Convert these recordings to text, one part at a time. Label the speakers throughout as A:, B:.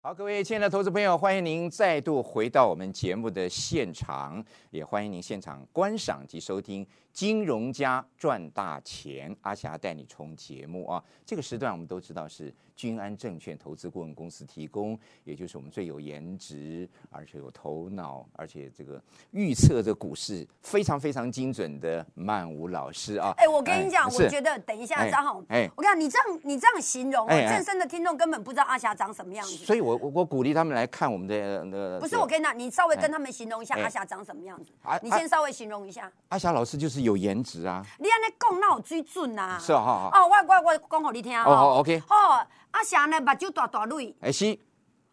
A: 好，各位亲爱的投资朋友，欢迎您再度回到我们节目的现场，也欢迎您现场观赏及收听《金融家赚大钱》，阿霞带你冲节目啊。这个时段我们都知道是君安证券投资顾问公司提供，也就是我们最有颜值，而且有头脑，而且这个预测这股市非常非常精准的曼舞老师啊。
B: 哎、我跟你讲，我
A: 是
B: 觉得等一下
A: 哎
B: 张好，
A: 哎
B: 我跟你讲，你这样你这样形容、
A: 哎
B: 哦，
A: 哎
B: 正身的听众根本不知道阿霞长什么样子。
A: 所以我，我我鼓励他们来看我们的呃，
B: 不是
A: 这个
B: 我跟你讲，你稍微跟他们形容一下
A: 哎
B: 阿霞长什么样子
A: 啊，
B: 你
A: 啊
B: 先稍微形容一下。
A: 阿霞老师就是有颜值啊，
B: 你安尼讲，那有水准啊！
A: 是啊哈哈
B: 哦，我我我讲给你听
A: 哦哦
B: 哦。
A: ，OK
B: 哦，阿霞呢，目睭大大蕊，
A: 哎西。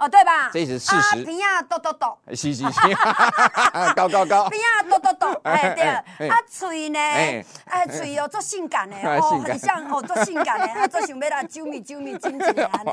B: 哦，对吧？
A: 这是事
B: 啊
A: 实
B: 鼻啊，嘟嘟嘟。
A: 是是是， 高高高
B: 鼻，啊，嘟嘟嘟，哎 对，
A: 哎哎
B: 啊嘴呢，
A: 哎
B: 哎嘴哦，做性 感的
A: 性
B: 哦，
A: 感
B: 很像哦，做性感的，啊做想要来啾咪啾咪亲亲的安 尼，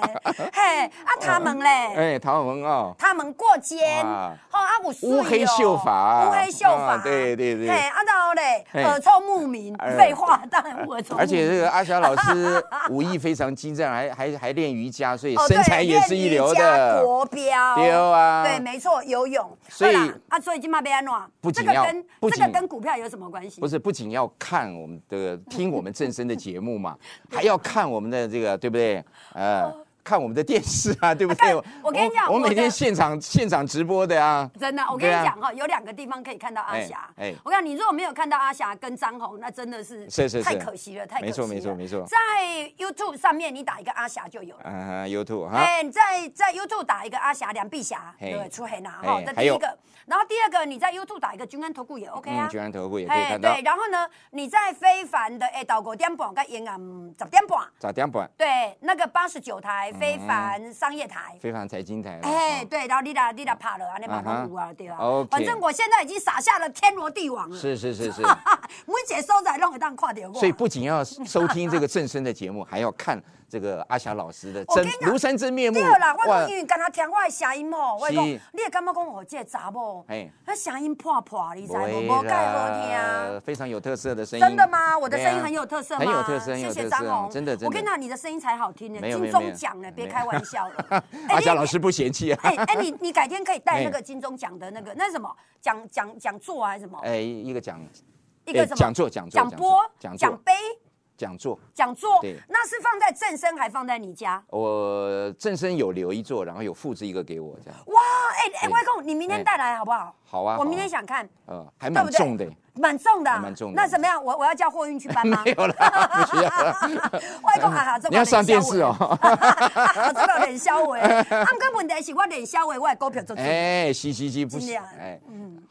B: 嘿，啊他们嘞，
A: 哎，陶文哦，
B: 他们过肩，
A: 哇
B: 哦啊有水哦
A: 乌黑秀发
B: 乌黑秀发
A: 啊，对对对
B: 嘿，啊然后嘞，
A: 哎
B: 耳聪目明
A: 哎，
B: 废话当然耳聪目明，
A: 而且这个阿霞老师武艺非常精湛，还还还练瑜伽，所以
B: 哦
A: 身
B: 对
A: 材也是一流
B: 练瑜
A: 的
B: 伽。国标，
A: 丢啊
B: 对，没错，游泳，
A: 所以
B: 好啦啊，所以今嘛被安诺，
A: 不
B: 这
A: 仅
B: 个
A: 要
B: 跟
A: 不
B: 这个
A: 仅
B: 跟股票有什么关系？
A: 不是，不仅要看我们的听我们正声的节目 嘛，还要看我们的这个，对不对？呃，看我们的电视啊，对不对？
B: 啊哦 看我跟你讲
A: 我
B: 我
A: 每
B: 的
A: 天现场现场直播的啊。
B: 真的，我跟你
A: 对啊
B: 讲哈、有两个地方可以看到阿霞。
A: 哎哎
B: 我跟你讲，你如果没有看到阿霞跟张红，那真的是
A: 是是是
B: 太可惜啊了，太哎可惜了。
A: 没错没错没错
B: 在 YouTube 上面你打一个阿霞就有了。
A: 啊，YouTube 哈，
B: 哎、你在在 YouTube 打一个阿霞梁碧霞，
A: 嘿
B: 对，出黑拿
A: 哎
B: 哈，这
A: 还
B: 第
A: 有
B: 一个。然后第二个，你在 YouTube 打一个君安投顾也 OK 啊
A: 嗯，。居然投顾也可以
B: 哎，
A: 看到
B: 对，，然后呢，你在非凡的哎，到五点半跟延安十点半，
A: 早点半
B: 对，那个八十九台非凡商业台，
A: 非常财经台了。
B: 哎，
A: 哦，
B: 对，然后你俩你俩怕了，安尼嘛
A: 啊哈
B: 拢有啊，对啊。
A: OK
B: 反正我现在已经撒下了天罗地网了。
A: 哦是是是是。
B: 每一个所在拢会当看到我。
A: 所以不仅要收听这个正声的节目，还要看这个阿霞老师的
B: 我跟
A: 真
B: 你讲
A: 庐山真面目。
B: 对啦，我
A: 哇
B: 讲因为敢若听我的声音哦，我
A: 是
B: 讲你会感觉讲我这个查某
A: 嘿，
B: 那声音破破，你知无？
A: 不
B: 无
A: 会
B: 介好
A: 啦
B: 听。
A: 非常有特色的声音。
B: 真的吗？我的
A: 对啊
B: 声音很有特色吗？
A: 很有特色，很有
B: 谢
A: 特
B: 谢
A: 色
B: 张红，
A: 真的真的。
B: 我跟你讲，你的声音才好听呢，
A: 没有
B: 金
A: 没有没
B: 钟
A: 有
B: 奖呢，别
A: 没有。
B: 开玩笑了
A: 阿
B: 哎
A: 霞
B: 你
A: 老师不嫌弃啊。
B: 哎哎，你你改天可以带那个
A: 哎
B: 金钟奖的那个那是什么讲讲讲座啊还是什么？
A: 哎，一个讲
B: 一个
A: 哎
B: 什么
A: 讲座讲座
B: 讲播
A: 讲座
B: 讲杯
A: 讲座，
B: 讲座
A: 对，
B: 那是放在正身还放在你家？
A: 我正声有留一座，然后有复制一个给我，这样
B: 哇，哎哎，
A: 对
B: 外公，你明天带来好不好？
A: 好啊。好
B: 我明
A: 啊
B: 天想看，
A: 呃，还
B: 对
A: 蛮
B: 不对？
A: 重的，
B: 蛮重的啊，
A: 还哦蛮重的
B: 那怎么样？我我要叫货运去搬吗？
A: 没有 啦，不需要啦。
B: 外公啊，哈这
A: 你要上电视哦
B: 啊， 这个冷销维，啊，不过问题是我冷销维，我的股票做做。
A: 哎，嘻嘻嘻，不
B: 尽
A: 行，
B: 量嗯
A: 哎，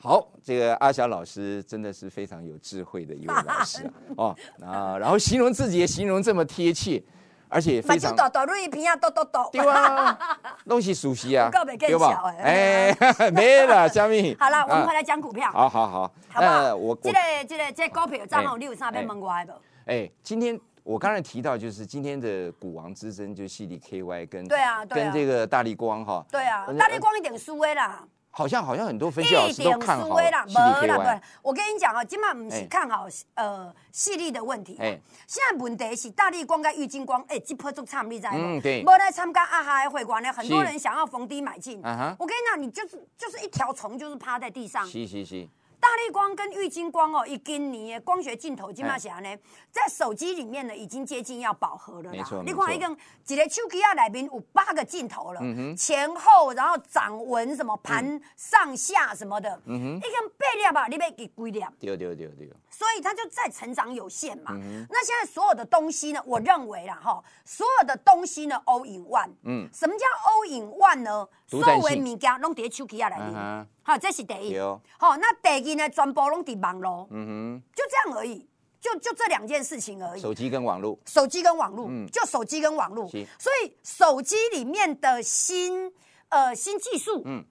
A: 好，这个阿霞老师真的是非常有智慧的一位老师啊 哦啊，然后形容自己也形容这么贴切，而且
B: 目
A: 非
B: 睭
A: 常
B: 大大，蕊片啊，抖抖抖。
A: 对啊，东西熟悉 啊
B: 有够，没见笑的
A: 哎，没了，虾米，
B: 好了，我们回
A: 来，
B: 来讲股票，
A: 啊好好好，
B: 好不好？
A: 我
B: 这
A: 我
B: 个这个这个股票，张
A: 哎
B: 红，你有啥要问我的不？
A: 哎，今天。我刚才提到，就是今天的股王之争，就是系里 KY 跟
B: 对啊对
A: 跟
B: 啊
A: 这个大力光哈，
B: 对啊
A: 呃，
B: 大力光一定输的啦。
A: 好像好像很多分析老
B: 一
A: 师都
B: 点
A: 看
B: 输
A: 好
B: 的啦，
A: 系
B: 无
A: 里
B: 啦，不
A: KY，
B: 是，我跟你讲哦，今晚不是
A: 哎
B: 看好呃细粒的问题哦
A: 哎，
B: 现在问题是大力光跟郁金光，哎，这波足惨，你知无？
A: 嗯对
B: 无来参加阿哈的会馆呢，很多
A: 是
B: 人想要逢低买进。
A: 啊哈
B: 我跟你讲，你就是就是一条虫，就是趴在地上。
A: 嘻嘻嘻，
B: 大力光跟郁金光哦，一今年的光学镜头
A: 哎
B: 今嘛是安尼，在手机里面呢已经接近要饱和了啦。
A: 没错
B: 你
A: 没错嗯
B: 看一个一个手机啊里面有八个镜头了，前后然后掌纹什么盘上下什么的，
A: 嗯
B: 一根贝粒吧，你被给归粒，
A: 丢丢丢丢，
B: 所以它就在成长有限
A: 嗯
B: 嘛。那现在所有的东西呢，我认为啦哈，所有的东西呢 all in one。
A: 嗯
B: 什么叫 all in one 呢？
A: 独
B: 所
A: 占性
B: 有的物件拢伫手机啊里
A: 嗯哼
B: 面。好，这是第一
A: 对哦。
B: 好，那第二呢，全部拢伫网络。
A: 嗯
B: 就这样而已，就就这两件事情而
A: 哼，
B: 已。
A: 手机跟网络，
B: 手机跟网络，
A: 嗯
B: 就手机跟网络
A: 是，
B: 所以手机里面的新呃新技术，
A: 嗯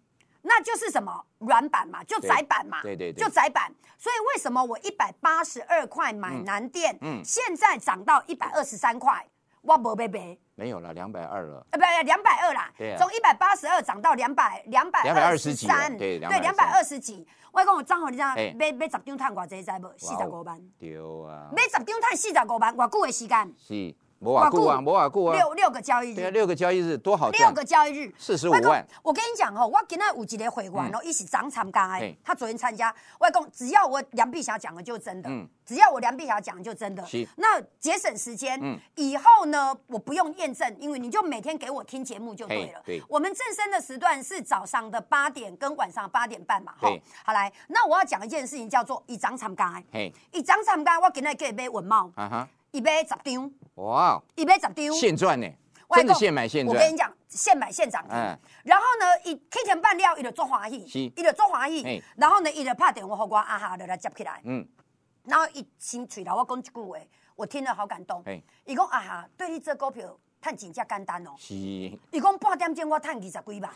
B: 那就是什么软板嘛，就窄板嘛，
A: 对对对
B: 啊就窄板。所以为什么我一百八十二块买南电，
A: 嗯嗯
B: 现在涨到一百二十三块，我没被赔。
A: 没有了，两百二了，
B: 呃，不，两百二啦
A: 对啊，
B: 从一百八十二涨到两百两百
A: 220几了对
B: 对，
A: 220
B: 两百二十几。我跟我张好，你知道
A: 哎
B: 买买十哦张赚偌济，知无？四十五万。
A: 丢啊，
B: 买十张赚四十五万，偌久的时间？
A: 是，摩瓦固啊，摩瓦固啊，
B: 六六个交易
A: 对啊，
B: 日，
A: 六个交易日多好赚，
B: 六个交易日。
A: 45
B: 我跟
A: 万
B: 我跟你讲吼，哦我今天有一个会员哦，一起长参加的
A: 嗯嘿，
B: 他昨天参加，外公只要我梁碧霞讲的就真的
A: 嗯，
B: 只要我梁碧霞讲就真的
A: 是。
B: 那节省时间
A: 嗯，
B: 以后呢，我不用验证，因为你就每天给我听节目就对了
A: 嘿。对
B: 我们正生的时段是早上的八点跟晚上八点半嘛，吼
A: 对。
B: 好来，那我要讲一件事情，叫做以长参加的。
A: 嘿，
B: 伊昨参加，我今日叫伊买文帽，
A: 啊哈，
B: 伊买十张，
A: 哇哦，
B: 伊买十张。
A: 现赚呢，
B: 我
A: 真
B: 跟你
A: 的
B: 讲
A: 现买现
B: 我跟
A: 赚，
B: 你讲，现买现涨停
A: 哎。
B: 然后呢，伊提前办了，伊就做欢
A: 是
B: 喜，伊就做欢
A: 嘿
B: 喜。然后呢，伊就拍电话给我，啊哈，就来接起来。
A: 嗯，
B: 然后伊先嘴头我讲一句话，我听了好感动
A: 嘿。
B: 伊讲啊哈，对你做股票，趁钱才简单哦。
A: 是，
B: 伊讲半点钟我趁二十几万，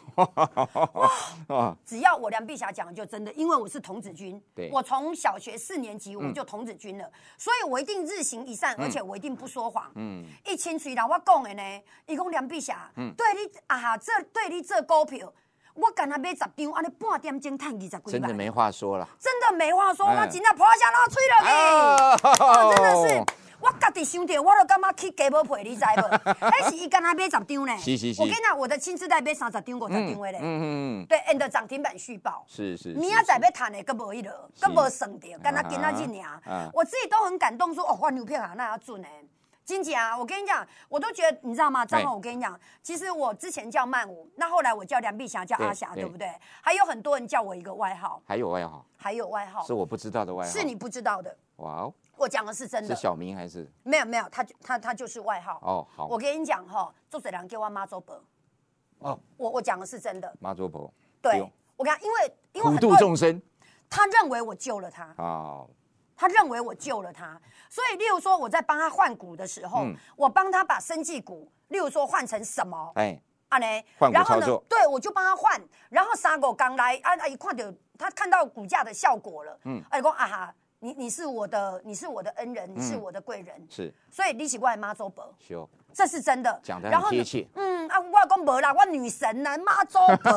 A: 哦，
B: 只要我梁碧霞讲的就真的，因为我是童子军
A: 对，嗯
B: 我从小学四年级我就童子军了，所以我一定日行一善，而且我一定不说谎。
A: 嗯，
B: 伊亲嘴人我讲的呢，伊讲梁碧霞，
A: 嗯
B: 对你啊，这对你这股票，我干那买十张，安尼半点钟趁二十几万，
A: 真的没话说了，
B: 真的没话说，
A: 哎
B: 我真正破下落吹落
A: 啊
B: 去。哎哦，真的是，我家己想着，我都感觉去加无赔，你知无？ 迄是伊干那买十张呢，
A: 是是是
B: 我跟你讲，我的亲自带买三十张、五
A: 嗯
B: 十张的
A: 嗯
B: 嘞，
A: 嗯，嗯
B: 对，and 涨停板续报。
A: 是是，
B: 明
A: 是
B: 仔载要赚的，佫无迄落，佫无算着，敢若今仔日
A: 啊
B: 尔
A: 啊。
B: 我自己都很感动说哦，我牛票啊，那要准呢。金姐啊，我跟你讲，我都觉得，你知道吗？张
A: 哎
B: 宏，我跟你讲，其实我之前叫曼舞，那后来我叫梁碧霞，叫阿霞，
A: 对
B: 对不对？还有很多人叫我一个外号，
A: 还有外号，
B: 还有外号
A: 是我不知道的外号，
B: 是你不知道的，
A: 哇哦，
B: 我讲的是真
A: 是
B: 的。
A: 小明还是
B: 没有没有，他就他他就是外号。
A: 哦好
B: 我跟你讲哈，作者人给我妈做伯，
A: 哦
B: 我我讲的是真的。
A: 妈祖婆？
B: 对
A: 对，
B: 我跟他，因为因为
A: 普
B: 很
A: 度
B: 多人
A: 众生，
B: 他认为我救了他，
A: 哦，
B: 他认为我救了他，所以例如说我在帮他换股的时候，
A: 嗯
B: 我帮他把生技股，例如说换成什么
A: 哎，
B: 啊呢？
A: 换股
B: 然后呢
A: 操作，
B: 对我就帮他换，然后沙狗刚来啊啊，一看到他看到股价的效果了，
A: 嗯
B: 嗯，哎说啊哈，你你是我的你是我的恩人，你是
A: 嗯
B: 我的贵人，
A: 是
B: 所以你是我的妈祖伯。
A: 修，
B: 这是真的，
A: 哦讲得很
B: 然后呢
A: 贴切
B: 嗯，啊，我讲无啦，我女神呐，妈祖 婆，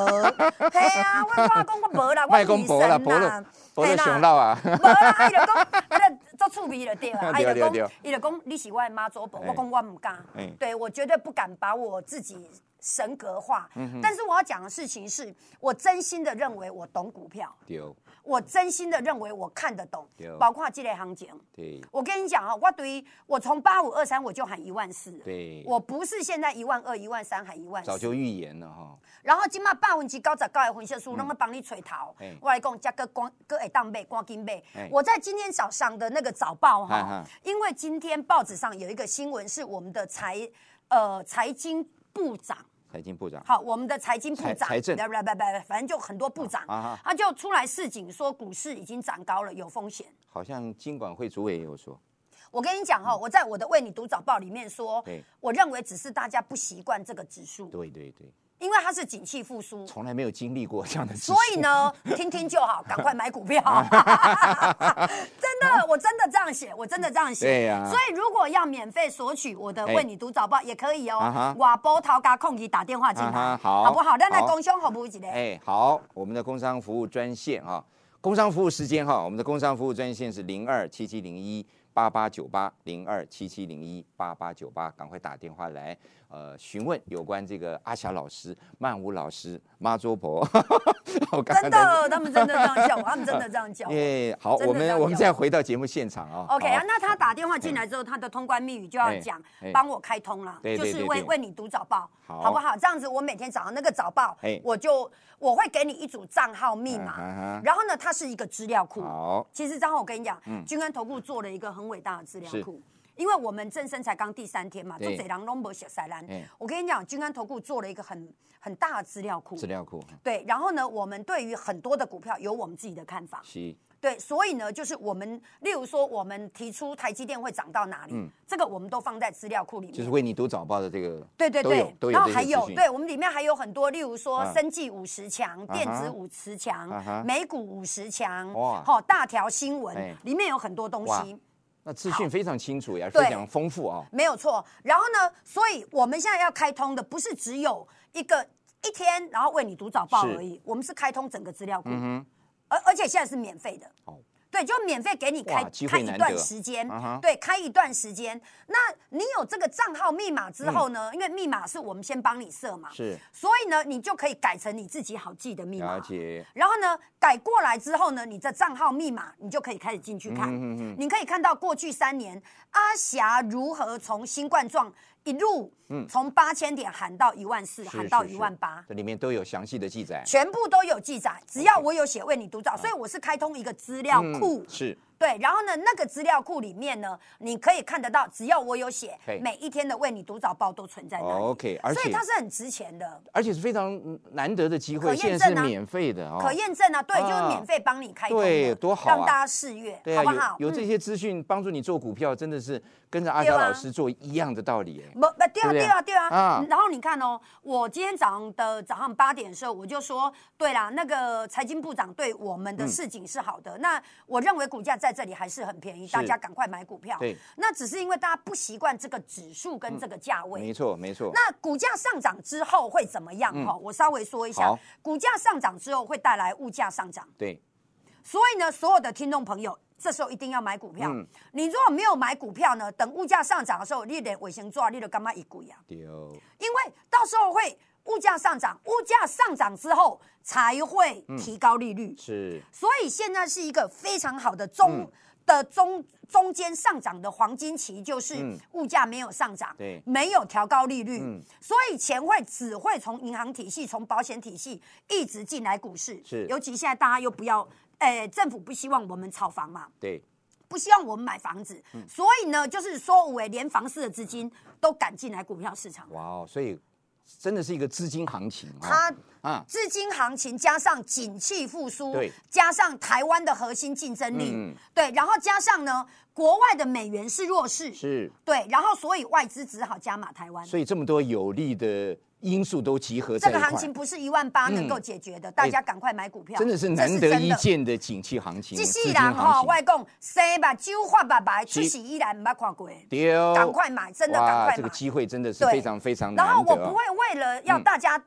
B: 嘿啊，我我讲我无啦，我
A: 卖公
B: 女
A: 婆了，
B: 神
A: 婆
B: 呐
A: 了，，婆了
B: 嘿啦
A: 熊到啊，
B: 无啦，伊就讲，啊，就做趣味就对了，啊，伊
A: 对
B: 就
A: 对对
B: 讲，伊就讲，你是我的妈祖婆，
A: 哎
B: 我讲我唔敢
A: 哎，
B: 对我绝对不敢把我自己神格化。
A: 嗯
B: 但是我要讲的事情是，我真心的认为我懂股票，
A: 丢
B: 我真心的认为我看得懂
A: 对，哦
B: 包括这类行情。
A: 对
B: 我跟你讲啊，我对于我从八五二三我就喊一万四，
A: 对，
B: 我不是现在一万二、一万三喊一万
A: 早
B: 四，
A: 就预言了哈，
B: 然后今嘛百分之九十九的分析师拢在帮你吹头
A: 嗯嘿。
B: 我来讲，加个光个会当买，赶紧买
A: 嘿。
B: 我在今天早上的那个早报
A: 哈哈
B: 哈，因为今天报纸上有一个新闻是我们的财呃财经部长。
A: 财经部长，
B: 好，我们的财经部
A: 财
B: 长，
A: 财政
B: 不不不不，反正就很多部长，
A: 啊啊
B: 他就出来示警说股市已经涨高了，有风险。
A: 好像金管会主委也有说，
B: 我跟你讲哈、我在我的为你读早报里面说
A: 嗯对，
B: 我认为只是大家不习惯这个指数，
A: 对对对，
B: 因为它是景气复苏，
A: 从来没有经历过这样的事
B: 所以呢，听听就好，赶快买股 票。真的，我真的这样写，我真的这样写。
A: 对呀
B: 所以如果要免费索取我的
A: 哎
B: 为你读早报也可以
A: 啊哈
B: 哦。瓦波涛嘎空机打电话进
A: 啊哈
B: 来，
A: 好
B: 好不好？让来
A: 好
B: 工商服务一下。
A: 哎，好，我们的工商服务专线啊，工商服务时间哈、我们的工商服务专线是零二七七零一八八九八零二七七零一八八九八，赶快打电话来，呃，询问有关这个阿霞老师、曼舞老师、妈桌婆， 我刚
B: 真
A: 刚在。
B: 的，他们真的这样叫我，他们真的这 样叫我。
A: 耶、好，
B: 真的
A: 我
B: 这
A: 们
B: 样
A: 我们
B: 讲
A: 再回到节目现场啊。
B: OK 啊
A: 哎好，
B: 那他打电话进来之后，他的通关密语就要讲
A: 哎哎，
B: 帮我开通了，
A: 对
B: 就
A: 对
B: 是
A: 对
B: 为
A: 对
B: 为你读早报，
A: 好
B: 好不好？这样子，我每天早上那个早报
A: 哎，
B: 我就我会给你一组账号密
A: 嗯
B: 码
A: 哼，
B: 然后呢，它是一个资料库。
A: 好，
B: 其实张浩，我跟你讲，
A: 嗯
B: 君安投顾做了一个很伟大的资料库。因为我们正生才刚第三天嘛，
A: 对
B: 做贼狼拢无写塞兰
A: 哎。
B: 我跟你讲，君安投顾做了一个很很大的资料库
A: 资。料库
B: 对，然后呢，我们对于很多的股票有我们自己的看法。
A: 是
B: 对，所以呢，就是我们，例如说，我们提出台积电会涨到哪里，这个我们都放在资料库里
A: 嗯
B: 面。
A: 就是为你读早报的这个，
B: 对对
A: 都有
B: 对，
A: 都有
B: 然后
A: 这些
B: 还有
A: 资，讯
B: 对我们里面还有很多，例如说
A: 啊
B: 生技五十强、电
A: 啊哈
B: 子五十强
A: 啊哈、
B: 美股五十强，
A: 哇
B: 好大条新闻
A: 哎，
B: 里面有很多东
A: 哇
B: 西。
A: 那资讯非常清楚，也非
B: 对
A: 常丰富啊。
B: 没有错。然后呢，所以我们现在要开通的不是只有一个一天，然后为你读早报
A: 是嗯
B: 而已，我们是开通整个资料库，而而且现在是免费的。
A: 哦
B: 对，就免费给你开
A: 哇机会
B: 开一
A: 难
B: 段
A: 得
B: 时间
A: 啊哈，
B: 对，开一段时间。那你有这个账号密码之后
A: 嗯
B: 呢？因为密码是我们先帮你设嘛，
A: 是
B: 所以呢，你就可以改成你自己好记的密
A: 了
B: 码。
A: 解，
B: 然后呢，改过来之后呢，你的账号密码你就可以开始进去看。
A: 嗯嗯嗯
B: 你可以看到过去三年阿霞如何从新冠状一路从八千点喊到一万四，
A: 嗯是
B: 喊到
A: 是
B: 一
A: 是
B: 万八。
A: 这里面都有详细的记载。
B: 全部都有记载，只要我有写为你读照，所以我是开通一个资料库
A: 嗯，是
B: 对，然后呢，那个资料库里面呢，你可以看得到，只要我有写
A: 嘿，哦
B: 每一天的为你读早报都存在那里，
A: OK，而
B: 所以
A: 且
B: 它是很值钱的，
A: 而且是非常嗯难得的机
B: 可
A: 会，
B: 验
A: 现
B: 证
A: 在
B: 啊
A: 是免费的哦。
B: 可验证啊，对，
A: 啊
B: 就是免费帮你开通的，
A: 对多好啊
B: 让大家试阅，
A: 对
B: 好
A: 啊，
B: 不好？
A: 有有
B: 嗯
A: 这些资讯帮助你做股票，真的是跟着阿
B: 对
A: 霞
B: 啊
A: 老师做一样的道理耶。
B: 不不对
A: 对不
B: 啊
A: 对
B: 对啊对啊
A: 啊！
B: 然后你看哦，我今天早上的早上八点的时候，我就说，对啦，那个财经部长对我
A: 嗯
B: 们的市井是好的，那我认为股价在这里还是很便宜，
A: 是
B: 大家赶快买股票。
A: 对，嗯
B: 那只是因为大家不习惯这个指数跟这个价位。
A: 没错，没错。
B: 那股价上涨之后会怎么样？哈、我稍微说一下
A: 好，
B: 股价上涨之后会带来物价上涨，
A: 对，
B: 所以呢，所有的听众朋友。这时候一定要买股票。
A: 嗯
B: 你如果没有买股票呢，等物价上涨的时候，你连卫生纸你都干嘛一股呀？
A: 丢
B: 因为到时候会物价上涨，物价上涨之后才会提高利率，
A: 是
B: 所以现在是一个非常好的中、
A: 嗯
B: 的中中间上涨的黄金期，就是
A: 嗯
B: 物价没有上涨，
A: 对
B: 没有调高利率，
A: 嗯
B: 所以钱会只会从银行体系、从保险体系一直进来股市，
A: 是
B: 尤其现在大家又不要，呃，政府不希望我们炒房嘛，
A: 对，
B: 不希望我们买房子，
A: 嗯
B: 所以呢，就是说，我连房市的资金都赶进来股票市场。
A: 哇哦，所以真的是一个资金行情啊。
B: 它
A: 啊，
B: 资金行情加上景气复苏
A: 对，
B: 加上台湾的核心竞争力，
A: 嗯
B: 对，然后加上呢，国外的美元是弱势，
A: 是，
B: 对，然后所以外资只好加码台湾。
A: 所以这么多有利的因素都集合在
B: 这
A: 一
B: 个
A: 块，嗯哎
B: 行情不是一万八能够解决的，大家赶快买股票，
A: 真的是难
B: 这
A: 得
B: 真
A: 一
B: 的。
A: 见的景气行情，
B: 这
A: 资
B: 世
A: 金
B: 人吼，
A: 行
B: 我
A: 情。
B: 讲生吧酒发吧白，出
A: 是
B: 世依然唔捌看过，
A: 丢，
B: 赶快买，真的
A: 哦哇
B: 赶快
A: 这
B: 买
A: 个。机会真的是
B: 对
A: 非常非常难
B: 然
A: 得、啊。嗯
B: 后我不会为了要大家、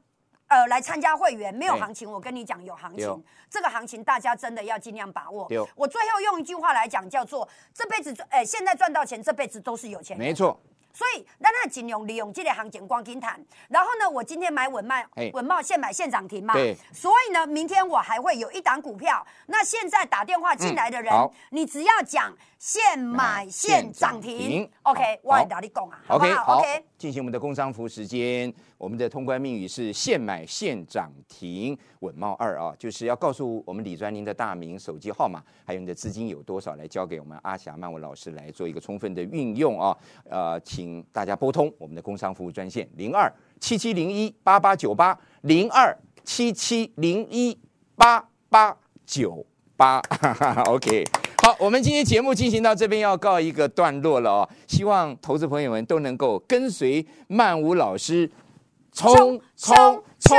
B: 呃来参加会员，没有
A: 对
B: 行情，我跟你讲有行
A: 对
B: 情
A: 哦，
B: 这个行情大家真的要尽量把握
A: 对哦。
B: 我最后用一句话来讲，叫做这辈子赚，呃，现在赚到钱，这辈子都是有钱人。
A: 没错，
B: 所以咱那尽量利用这个行情光金谈。然后呢，我今天买文脉
A: 嘿，
B: 文茂现买现涨停嘛。
A: 对
B: 所以呢，明天我还会有一档股票。那现在打电话进来的人，
A: 嗯好
B: 你只要讲现买
A: 买
B: 现
A: 现
B: 涨
A: 涨
B: 停
A: 停
B: ，OK，
A: 好
B: 我也打你讲啊，好不
A: OK，
B: 好
A: 好
B: ？OK，，
A: 进行我们的工商服务时间。我们的通关密语是现买现涨停，稳茂二啊，就是要告诉我们李专您的大名、手机号码，还有你的资金有多少，来交给我们阿霞曼文老师来做一个充分的运用啊。呃，请大家拨通我们的工商服务专线零二七七零一八八九八零二七七零一八八九八 ，OK。好，我们今天节目进行到这边要告一个段落了哦，希望投资朋友们都能够跟随曼舞老师冲
B: 冲
A: 冲
B: 冲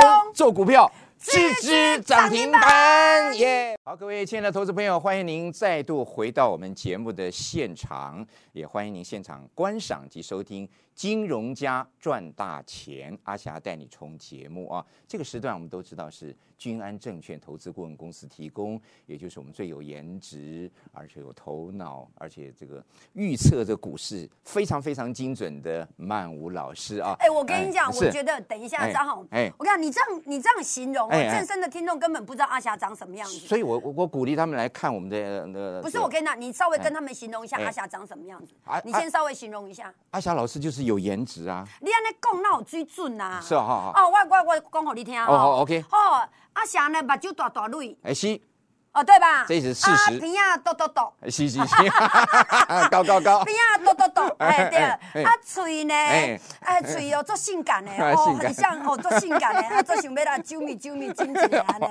A: 冲做股票，
B: 支
A: 支
B: 支
A: 支
B: 涨
A: 涨
B: 停
A: 停
B: 板
A: 板耶好，各位亲爱的投资朋友，欢迎您再度回到我们节目的现场，也欢迎您现场观赏及收听《金融家赚大钱》，阿霞带你冲节目啊。这个时段我们都知道是君安证券投资顾问公司提供，也就是我们最有颜值，而且有头脑，而且这个预测这股市非常非常精准的曼舞老师啊。
B: 哎，我跟你讲，
A: 是
B: 我觉得等一下
A: 哎
B: 张宏，
A: 哎
B: 我跟你讲，你这样你这样形容，
A: 哎哎
B: 正身的听众根本不知道阿霞长什么样子。
A: 所以我我我鼓励他们来看我们的呃，
B: 不是，
A: 这个
B: 我跟你讲，你稍微跟他们形容一下
A: 哎
B: 阿霞长什么样子
A: 啊，
B: 你先稍微形容一下。
A: 阿霞老师就是有颜值啊。
B: 你安尼讲，那有水准啊？
A: 是啊好好
B: 哦，我我我讲给你听
A: 哦好，OK
B: 哦，阿霞呢，目睭大大蕊，
A: 哎，是，
B: 哦，对吧？
A: 这是事实
B: 啊鼻啊，嘟嘟嘟，
A: 哎是是是， 高高 高，
B: 鼻啊，嘟嘟嘟，哎
A: 哎
B: 对。
A: 哎哎
B: 啊，嘴呢？
A: 哎
B: 哎，嘴哦，做性 感的
A: 哎
B: 哦，
A: 性感
B: 很像哦，做性感的，啊，做想要来啾咪啾咪亲亲的 安尼。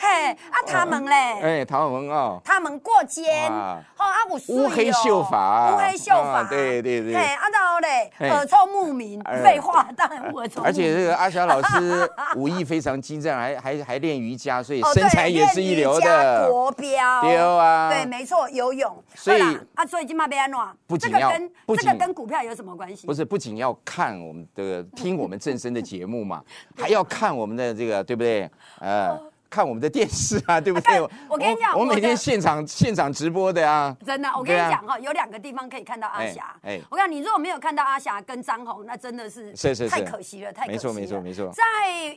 B: 嘿，啊，他们嘞？
A: 哎，唐文哦，
B: 他们过肩，
A: 哇
B: 哦啊有水哦
A: 乌黑秀发
B: 乌黑秀发，
A: 啊对对对
B: 嘿啊然后嘞
A: 嘿
B: 耳聪目明，
A: 哎
B: 废话当然耳聪目明，
A: 而且这个阿霞老师 武艺非常精湛，还还还练瑜伽，所以
B: 哦对
A: 身材也是一流
B: 练瑜伽
A: 的。
B: 国标，
A: 对啊
B: 对，没错，游泳，
A: 所以
B: 对啦啊，所以今嘛被安怎？
A: 不
B: 这
A: 仅
B: 个
A: 要
B: 跟
A: 不
B: 这
A: 仅
B: 个跟股票有什么关系
A: 不？是，不仅要看 我们的听我们正声的节目嘛，还要看我们的这个，对不对？呃，看我们的电视 啊，对不
B: 啊
A: 对？
B: 但哦我跟你讲
A: 我
B: 我
A: 每天
B: 的
A: 现场现场直播的啊，
B: 真的，我跟
A: 对
B: 你
A: 啊
B: 讲哈、有两个地方可以看到阿霞。
A: 哎哎
B: 我跟你讲，你如果没有看到阿霞跟张红，那真的是
A: 是是是
B: 太可惜了，太可惜了。
A: 没错没错没错
B: 在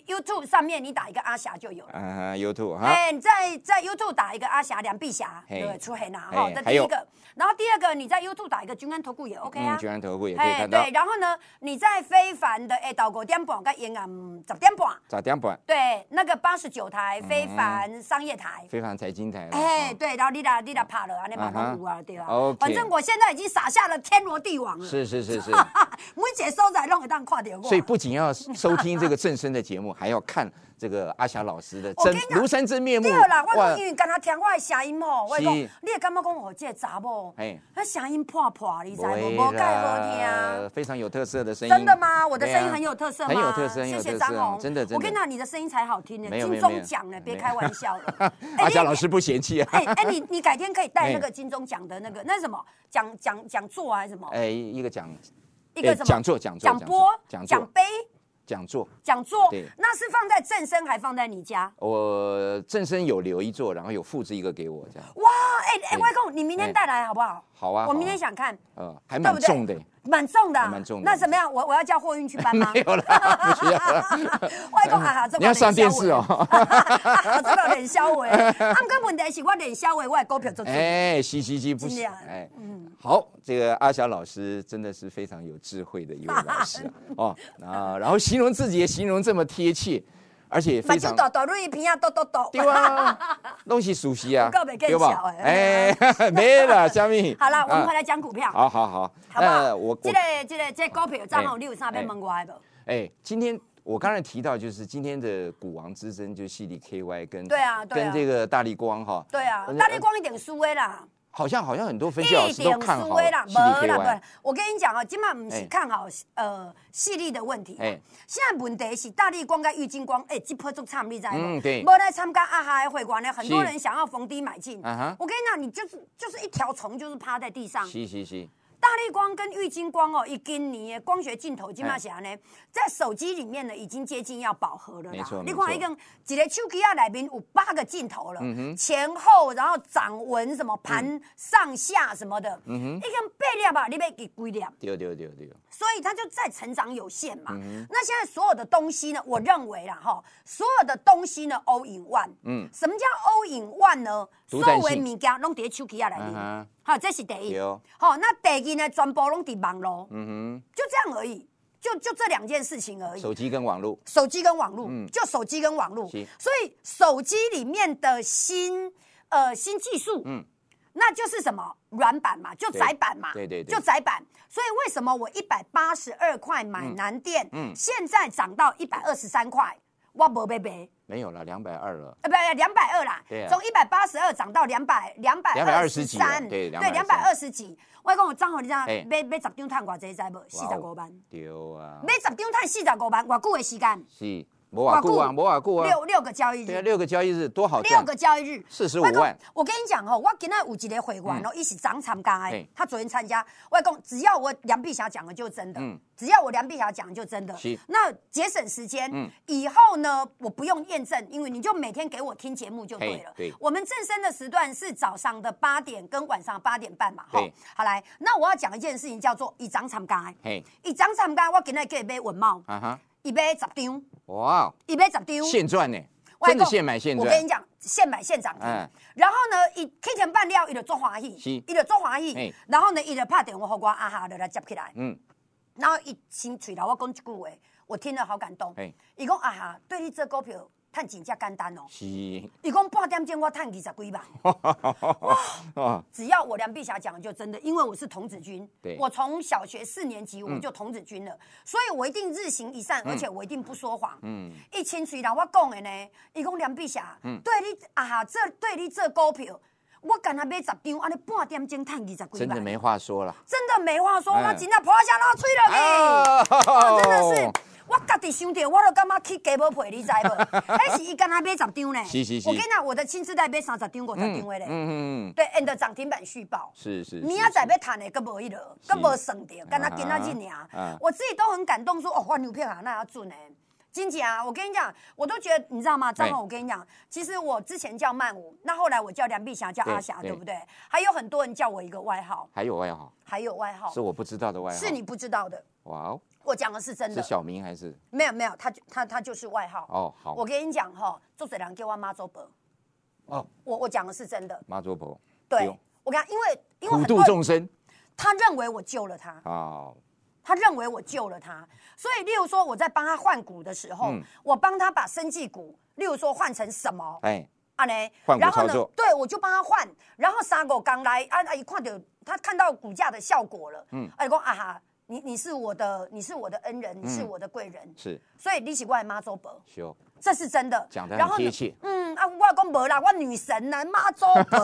B: YouTube 上面，你打一个阿霞就有了。
A: 啊，YouTube 哈，
B: 哎、你在在 YouTube 打一个阿霞、梁碧霞，
A: 嘿
B: 对，出黑拿
A: 哎
B: 哈，这
A: 还
B: 第一
A: 有
B: 个。然后第二个，你在 YouTube 打一个君安投顾也 OK 啊
A: 嗯，。君安投顾也可以
B: 哎，
A: 看到
B: 对，，然后呢，你在非凡的哎，到五点半跟延安十点半，
A: 咋点版？
B: 啊对，那个八十九台非凡商业台，
A: 非凡财经台了，
B: 哎，
A: 哦
B: 对，然后你俩你俩怕了，安尼嘛拢有啊，对啊。
A: OK
B: 反正我现在已经撒下了天罗地网了，
A: 是是是 是。
B: 每一个所在拢会当看到我。
A: 所以不仅要收听这个正声的节目， 还要看这个阿霞老师的
B: 我跟
A: 真
B: 你讲
A: 庐山真面目。
B: 对啦，我
A: 哇
B: 讲因为刚才听我的声音吼，我跟你
A: 是
B: 讲你会感觉讲我这个查某
A: 嘿，
B: 那声音破破，你知无？
A: 不
B: 无
A: 会
B: 介好
A: 啦
B: 听。
A: 非常有特色的声音。
B: 啊真的吗？我的声
A: 对
B: 音
A: 啊
B: 很有特色吗？
A: 很有特色，很有
B: 谢谢
A: 特
B: 张
A: 色啊
B: 红，，
A: 真的真的。
B: 我跟你讲，你的声音才好听呢，
A: 没有没
B: 金
A: 有没
B: 钟
A: 有
B: 奖呢，别
A: 没有。
B: 开玩笑了
A: 阿
B: 哎
A: 霞
B: 你
A: 老师不嫌弃啊。
B: 哎哎，你你改天可以带那个
A: 哎
B: 金钟奖的那个那什么讲讲讲座啊，还是什么？
A: 哎，一个讲
B: 一个
A: 哎
B: 什么
A: 讲座讲座
B: 讲播
A: 讲座
B: 奖杯
A: 讲座，
B: 讲座
A: 对，
B: 那是放在正身还放在你家？
A: 我正声有留一座，然后有复制一个给我，这样
B: 哇，哎哎，
A: 对
B: 外公，你明天带来好不好？
A: 好啊好啊
B: 我明天想看，
A: 呃，还
B: 对
A: 蛮
B: 不对？
A: 重 的。
B: 蛮重的啊，
A: 还蛮重的
B: 那怎么样？我我要叫货运去搬 吗
A: 没？有啦，不需要啦。
B: 外公啊哈，这
A: 你要上电视哦
B: 啊哈，这个连销维，啊，不过问题是我连销维，啊我的股票做做。
A: 哎，是是是，不
B: 真
A: 行
B: 的啊。
A: 哎，好，这个阿霞老师真的是非常有智慧的一位老师啊 哦啊，然后形容自己也形容这么贴切，而且
B: 目
A: 非
B: 睭
A: 常
B: 大大，蕊鼻啊抖抖抖。
A: 对啊，东西熟 悉啊
B: 有够不，见笑的
A: 哎， 没了，虾米？
B: 好了，我们
A: 啊
B: 回来讲股票，
A: 好好好，
B: 好不好？
A: 我
B: 这
A: 我
B: 个这个这个股票账号
A: 哎
B: 你有啥要问我的无？
A: 哎，今天我刚才提到就是今天的股王之争，就是系里 KY 跟
B: 对啊对啊
A: 跟这个大力光哈，
B: 对啊
A: 呃，
B: 大力光一定输的啦。
A: 好像好像很多分析老
B: 一
A: 师都
B: 点
A: 看
B: 输
A: 好
B: 的啦，
A: 系
B: 无
A: 里
B: 啦，不
A: KY
B: 啦。。我跟你讲哦，今晚不是
A: 哎
B: 看好呃细粒的问题嘛
A: 哎，
B: 现在问题是大力光跟郁金光，哎，这波足惨，你知道吗？
A: 嗯对
B: 无来参加阿哈的会馆呢，很多
A: 是
B: 人想要逢低买进。
A: 啊哈
B: 我跟你讲，你就是就是一条虫，就是趴在地上。
A: 是是是，
B: 大力光跟郁金光哦，一今年的光学镜头今嘛啥呢？在手机里面呢，已经接近要饱和了啦。
A: 没错
B: 你
A: 没错嗯
B: 看一个一个手机啊，里面有八个镜头了，前后，然后掌纹什么盘上下什么的，
A: 嗯
B: 一根贝粒啊吧，你被给龟粒，
A: 对对对对。
B: 所以它就在成长有限
A: 嗯
B: 嘛。那现在所有的东西呢，我认为啦哈，所有的东西呢，all in one。
A: 嗯
B: 什么叫 all in one 呢？
A: 独
B: 所有
A: 占性
B: 的物件拢伫手机啊里面。
A: 啊哈
B: 好，这是第一
A: 对哦。
B: 好，那第二呢，全部拢伫网络。
A: 嗯
B: 就这样而已，就就这两件事情而
A: 哼，
B: 已。
A: 手机跟网络
B: 手机跟网络，
A: 嗯
B: 就手机跟网络，
A: 是
B: 所以手机里面的新呃新技术，
A: 嗯
B: 那就是什么软板嘛，就窄板嘛，
A: 对对对
B: 就窄板。所以为什么我一百八十二块买南电，
A: 嗯嗯
B: 现在涨到一百二十三块，我没被赔。
A: 没有了，两百二了。
B: 呃，不，两百二啦
A: 对，啊
B: 从一百八十二涨到两百两百
A: 220几了对
B: 对，
A: 220
B: 两百二十几。我跟我张宏，你知道
A: 哎
B: 买买十张赚偌济，知无？四十五万。
A: 丢啊！
B: 买十张赚四十五万，偌久的时间？
A: 是摩瓦固啊，摩瓦固啊，
B: 六六个交易
A: 对啊，
B: 日，
A: 六个交易日多好赚
B: 六，个交易日，
A: 45
B: 我跟
A: 万。嗯
B: 我跟你讲吼，我今天有一个会员哦，一起长参加的
A: 嘿，
B: 他昨天参加，我讲只要我梁碧霞讲的就真的
A: 嗯，
B: 只要我梁碧霞讲就真的
A: 是。
B: 那节省时间
A: 嗯，
B: 以后呢，我不用验证，因为你就每天给我听节目就对
A: 嘿
B: 了。
A: 对
B: 我们正生的时段是早上的八点跟晚上八点半嘛，吼
A: 对。
B: 好来，那我要讲一件事情，叫做以长参加的，
A: 嘿
B: 以长参加，我今天叫伊买文帽，
A: 啊哈，
B: 伊买十张。
A: 哇哦，
B: 伊买十张，
A: 现赚呢，
B: 我
A: 真
B: 跟你
A: 的
B: 讲
A: 现买现
B: 我跟
A: 赚
B: 你，讲，现买现涨停
A: 哎。
B: 然后呢，伊七天半了，伊就做欢
A: 是
B: 喜，伊就做欢喜
A: 嘿。
B: 然后呢，伊就拍电话给我阿哈，就来接起来。
A: 嗯，
B: 然后伊先嘴头我讲一句话，我听了好感动
A: 嘿。
B: 伊讲阿哈，对你做股票，趁钱遮简单哦。
A: 是，
B: 伊讲半点钟我趁二十几万，
A: 哦，
B: 只要我梁碧霞讲的就真的，因为我是童子军
A: 对，嗯
B: 我从小学四年级我就童子军了，所以我一定日行一善，而且我一定不说谎。
A: 嗯，
B: 伊清水人我讲的呢，伊讲梁碧霞，对你啊哈，这对你这股票，我干那买十张，安尼半点钟赚二十几万，
A: 真的没话说了，
B: 真的没话说，
A: 哎
B: 我真的破下老吹
A: 哦
B: 了去。我哎哦真的是，我家己想到，我都感觉去加无赔，你知无？ 迄是伊干那买十张呢，
A: 是是是
B: 我跟你讲，我的亲自带买三十张、五十张的
A: 嗯
B: 嘞，
A: 嗯嗯，
B: 对，and 涨停板续报。
A: 是是，
B: 明
A: 是
B: 仔载要赚的，佫无迄落，佫无算着，敢若今仔日
A: 啊
B: 尔
A: 啊。
B: 我自己都很感动，说哦，我牛票啊，那要准的，金姐啊，我跟你讲，我都觉得你知道吗？张
A: 哎
B: 宏，我跟你讲，其实我之前叫曼舞，那后来我叫梁碧霞，叫
A: 对
B: 阿霞，
A: 对
B: 对不对？还有很多人叫我一个外号，
A: 还有外号
B: 还有外号
A: 是我不知道的外号，
B: 是你不知道的，
A: 哇哦，
B: 我讲的是真
A: 是
B: 的，
A: 小明还是
B: 没有没有，他就他他就是外号。
A: 哦好
B: 我跟你讲哈，做嘴人给我妈做伯，
A: 哦
B: 我我讲的是真的，
A: 妈祖婆，
B: 对
A: 有
B: 我跟你讲，因为因为
A: 普
B: 很
A: 度
B: 多人
A: 众生，
B: 他认为我救了他，
A: 好
B: 他认为我救了他，所以例如说我在帮他换股的时候，
A: 嗯
B: 我帮他把生技股，例如说换成什么，
A: 哎
B: 啊呢，
A: 换股
B: 然后
A: 操
B: 呢
A: 作，
B: 对我就帮他换，然后三狗刚来，啊啊一看到他看到股价的效果了，嗯，哎说啊哈，你你是我的你是我的恩
A: 嗯
B: 人，你是我的贵人，
A: 是哦
B: 所以你是我的妈祖婆，
A: 修
B: 这是真的，
A: 讲得
B: 然
A: 很
B: 后呢
A: 贴切
B: 嗯啊，我讲无啦，我女神呐，妈祖 婆，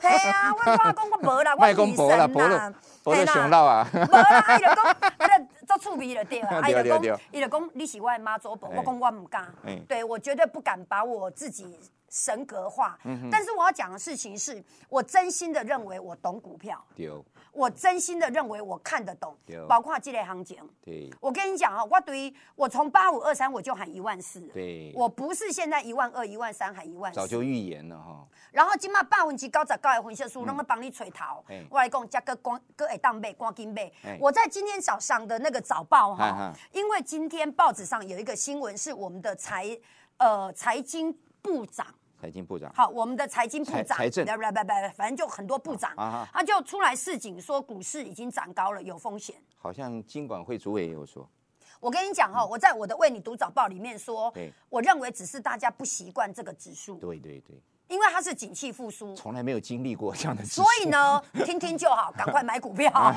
B: 嘿啊，我我讲我无啦，我
A: 卖公
B: 女
A: 婆啦，
B: 神
A: 婆
B: 呐
A: 了，婆了
B: 嘿啦
A: 熊闹啊，
B: 无啦，啊伊就讲，啊，就做趣味就对啦。啊，伊
A: 对
B: 就
A: 对对
B: 讲，伊就讲，你是我的妈祖婆，
A: 哎
B: 我讲我唔敢
A: 哎，
B: 对我绝对不敢把我自己神格化。
A: 嗯
B: 但是我要讲的事情是，我真心的认为我懂股票，
A: 丢
B: 我真心的认为我看得懂
A: 对，
B: 包括这类行情。
A: 对
B: 我跟你讲啊，我对我从八五二三我就喊一万四，
A: 对，
B: 我不是现在一万二、一万三喊一万
A: 早
B: 四，
A: 就预言了哈，
B: 然后今嘛百分之九十九的分析师拢在帮你吹头
A: 嗯嘿，
B: 我来讲，加个光个会当买，赶紧买
A: 嘿。
B: 我在今天早上的那个早报
A: 哈
B: 哈
A: 哈，
B: 因为今天报纸上有一个新闻是我们的财呃财经部长。
A: 财经部长
B: 好，我们的财经部长，
A: 财财政
B: 不不不不，反正就很多部长，
A: 啊啊
B: 他就出来示警说股市已经涨高了，有风险。
A: 好像经管会主委也有说，
B: 我跟你讲哈、我在我的为你读早报里面说
A: 嗯对，
B: 我认为只是大家不习惯这个指数，
A: 对对对，
B: 因为它是景气复苏，
A: 从来没有经历过这样的事
B: 所以呢，听听就好，赶快买 股票。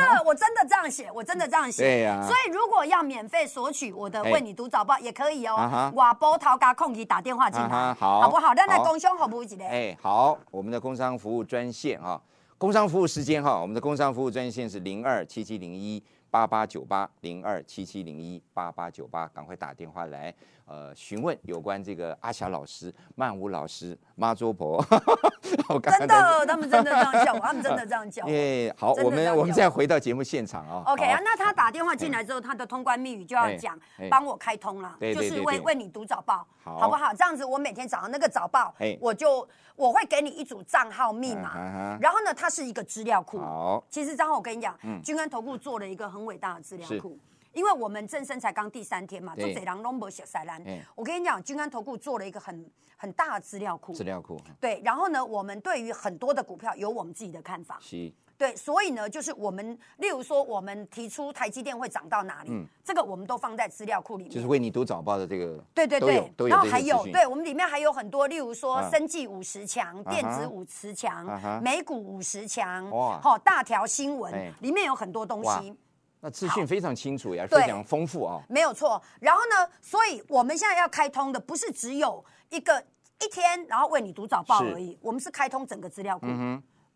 B: 真的，我真的这样写，我真的这样写。
A: 对呀
B: 所以如果要免费索取我的
A: 哎
B: 《为你读早报》，也可以
A: 啊
B: 哦
A: 哈。
B: 瓦波涛嘎空机打电话进
A: 啊哈
B: 来，
A: 好
B: 不好？让那
A: 好
B: 工商服务一下。
A: 哎，好，我们的工商服务专线啊、工商服务时间哈、我们的工商服务专线是零二七七零一八八九八零二七七零一八八九八，赶快打电话来，呃，询问有关这个阿霞老师、曼舞老师、妈桌婆， 我刚
B: 真
A: 刚在
B: 的，他们真的这样叫我，他们真的这样 叫我。
A: 耶，好，
B: 真的
A: 我
B: 这样
A: 们我们再
B: 讲
A: 回到节目现场啊、
B: OK
A: 好
B: 啊，那他打电话进来之后，他的通关密语就要
A: 哎
B: 讲
A: 哎，
B: 帮我开通啦，
A: 对
B: 就
A: 对
B: 是
A: 对
B: 为
A: 对
B: 为你读早报，
A: 好
B: 好不好？这样子，我每天早上那个早报
A: 哎，
B: 我就我会给你一组账号密
A: 嗯
B: 码
A: 哼，
B: 然后呢，它是一个资料库。
A: 好，嗯
B: 其实张浩，我跟你讲，君安投顾做了一个很伟大的资料库。因为我们正身才刚第三天嘛，做
A: 对
B: 贼狼拢没写塞兰
A: 哎。
B: 我跟你讲，君安投顾做了一个很很大的资料库
A: 资。料库
B: 对，然后呢，我们对于很多的股票有我们自己的看法。
A: 是
B: 对，所以呢，就是我们，例如说，我们提出台积电会涨到哪里，
A: 嗯
B: 这个我们都放在资料库里面。
A: 就是为你读早报的这个，
B: 对对
A: 都有
B: 对，
A: 都有
B: 然后
A: 这些
B: 还有
A: 资，讯
B: 对我们里面还有很多，例如说
A: 啊
B: 生技五十强、电
A: 啊
B: 子
A: 哈
B: 五十强
A: 啊哈、
B: 美股五十强，
A: 哇
B: 好大条新闻
A: 哎，
B: 里面有很多东
A: 哇
B: 西。
A: 那资讯非常清楚呀，非
B: 对
A: 常丰富啊、
B: 没有错。然后呢，所以我们现在要开通的不是只有一个一天，然后为你读早报
A: 是嗯
B: 而已，我们是开通整个资料库，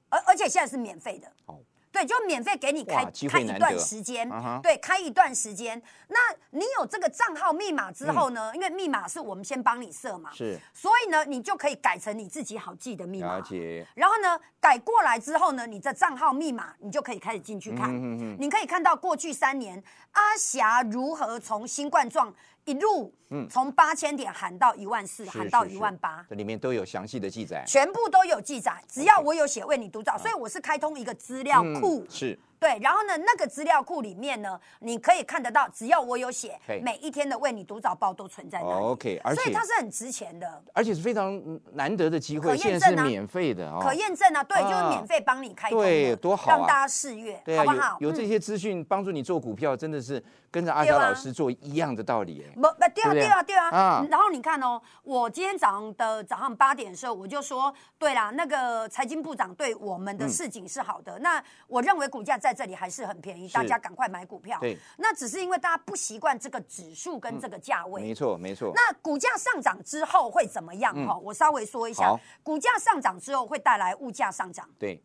B: 而而且现在是免费的。
A: 好
B: 对，就免费给你开
A: 哦哇机
B: 开
A: 会
B: 一
A: 难
B: 段
A: 得
B: 时间
A: 啊哈
B: 对，开一段时间。那你有这个账号密码之后呢？因为密码是我们先帮你设嘛，
A: 嗯是
B: 所以呢，你就可以改成你自己好记的密码
A: 了。解。
B: 然后呢，改过来之后呢，你的账号密码你就可以开始进去看，
A: 嗯
B: 你可以看到过去三年阿霞如何从新冠状一路从八千点喊到一万四，
A: 嗯是
B: 喊到
A: 是哎
B: 一
A: 是
B: 万八。
A: 这里面都有详细的记载。
B: 全部都有记载，只要我有写为你读照，所以我是开通一个资料库，
A: 嗯是
B: 对，然后呢，那个资料库里面呢，你可以看得到，只要我有写
A: 嘿，哦
B: 每一天的为你读早报都存在那里。
A: OK，而
B: 所以
A: 且
B: 它是很值钱的，
A: 而且是非常嗯难得的机
B: 可
A: 会，
B: 验
A: 现在
B: 证
A: 是
B: 啊
A: 免费的哦。
B: 可验证啊，对，
A: 啊
B: 就是免费帮你开通的，
A: 对多好啊
B: 让大家试阅，
A: 对
B: 好不
A: 啊
B: 好，？嗯
A: 有有这些资讯帮助你做股票，真的是跟着阿娇
B: 对啊
A: 老师做一样的道理哎。
B: 不不，对
A: 对
B: 啊
A: 不对
B: 对啊对啊
A: 啊。
B: 然后你看哦，我今天早上的早上八点的时候，我就说，对啦，那个财经部长对我们的
A: 嗯
B: 市景是好的。那我认为股价在这里还是很便宜，
A: 是
B: 大家赶快买股票。
A: 对，嗯
B: 那只是因为大家不习惯这个指数跟这个价位。
A: 没错，没错。嗯
B: 那股价上涨之后会怎么样？哈、我稍微说一下
A: 好，
B: 股价上涨之后会带来物价上涨，
A: 对，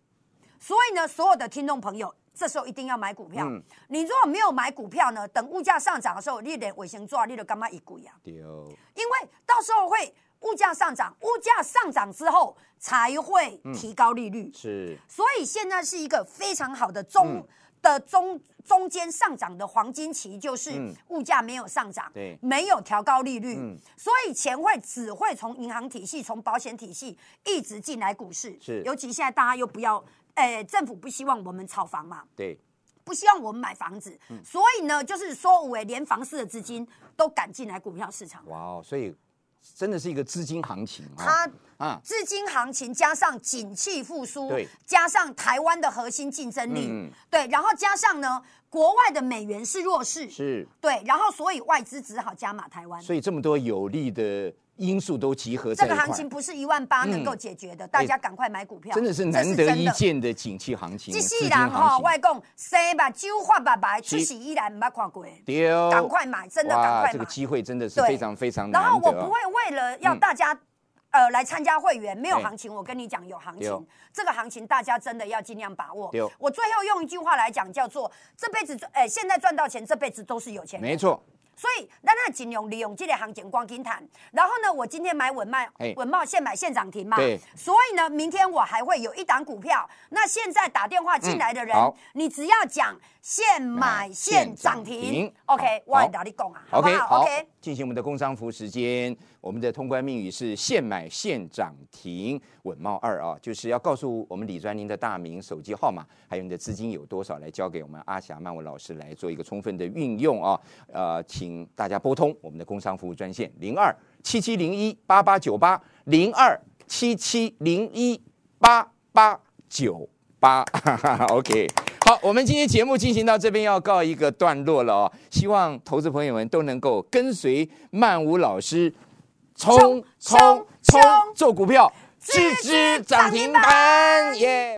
B: 所以呢，所有的听众朋友。这时候一定要买股票。
A: 嗯
B: 你如果没有买股票呢，等物价上涨的时候，你得尾行做，你就干嘛一啊股呀？
A: 丢
B: 因为到时候会物价上涨，物价上涨之后才会提高利率，
A: 是嗯
B: 所以现在是一个非常好的中、的中中间上涨的黄金期，就是
A: 嗯
B: 物价没有上涨，
A: 对
B: 没有调高利率，
A: 嗯
B: 所以钱会只会从银行体系、从保险体系一直进来股市，
A: 是
B: 尤其现在大家又不要，诶、政府不希望我们炒房嘛，
A: 对，
B: 不希望我们买房子，
A: 嗯
B: 所以呢，就是说，我连房市的资金都赶进来股票市场，
A: 哇哦，所以真的是一个资金行情啊、
B: 它。
A: 啊，
B: 资金行情加上景气复苏
A: 对，
B: 加上台湾的核心竞争力，
A: 嗯
B: 对，然后加上呢，国外的美元是弱势，
A: 是，
B: 对，然后所以外资只好加码台湾。
A: 所以这么多有利的因素都集合在
B: 这
A: 一块嗯哎
B: 个，行情不是一万八能够解决的，大家赶快买股票，
A: 真的是
B: 这
A: 难得
B: 真
A: 一
B: 的。
A: 见的景气行情，啊
B: 这
A: 资
B: 世
A: 金
B: 人吼，
A: 行
B: 外
A: 情。
B: 公生吧酒花吧白，出
A: 是
B: 世依然没看过的，
A: 丢，
B: 赶快买，真的
A: 哇
B: 赶快买。
A: 这个机会真的是
B: 对
A: 非常非常难
B: 然
A: 得、嗯
B: 后
A: 哦。
B: 我不会为了要大家、呃来参加会员，没有行情，我跟你讲有行
A: 对哦
B: 情，这个行情大家真的要尽量把握
A: 对哦。
B: 我最后用一句话来讲，叫做这辈子赚，呃，现在赚到钱，这辈子都是有钱人。
A: 没错，
B: 所以咱那尽量利用这个行情光金谈。然后呢，我今天买稳卖
A: 嘿，
B: 稳茂现买现涨停嘛。
A: 对
B: 所以呢，明天我还会有一档股票。那现在打电话进来的人，
A: 嗯好
B: 你只要讲现买
A: 现
B: 现涨
A: 涨
B: 停
A: 停
B: ，OK，
A: 好
B: 我也打你讲啊，好不
A: OK，
B: 好
A: 好
B: ？OK，，
A: 进行我们的工商服时间。我们的通关密语是现买现涨停，稳茂二啊，就是要告诉我们李专您的大名、手机号码，还有你的资金有多少，来交给我们阿霞曼舞老师来做一个充分的运用啊。呃，请大家拨通我们的工商服务专线零二七七零一八八九八零二七七零一八八九八 ，OK。好，我们今天节目进行到这边要告一个段落了哦，希望投资朋友们都能够跟随曼舞老师冲
B: 冲
A: 冲冲
B: 冲
A: 做股票，
B: 支
A: 支
B: 支
A: 支
B: 涨
A: 涨
B: 停
A: 停
B: 板
A: 板耶！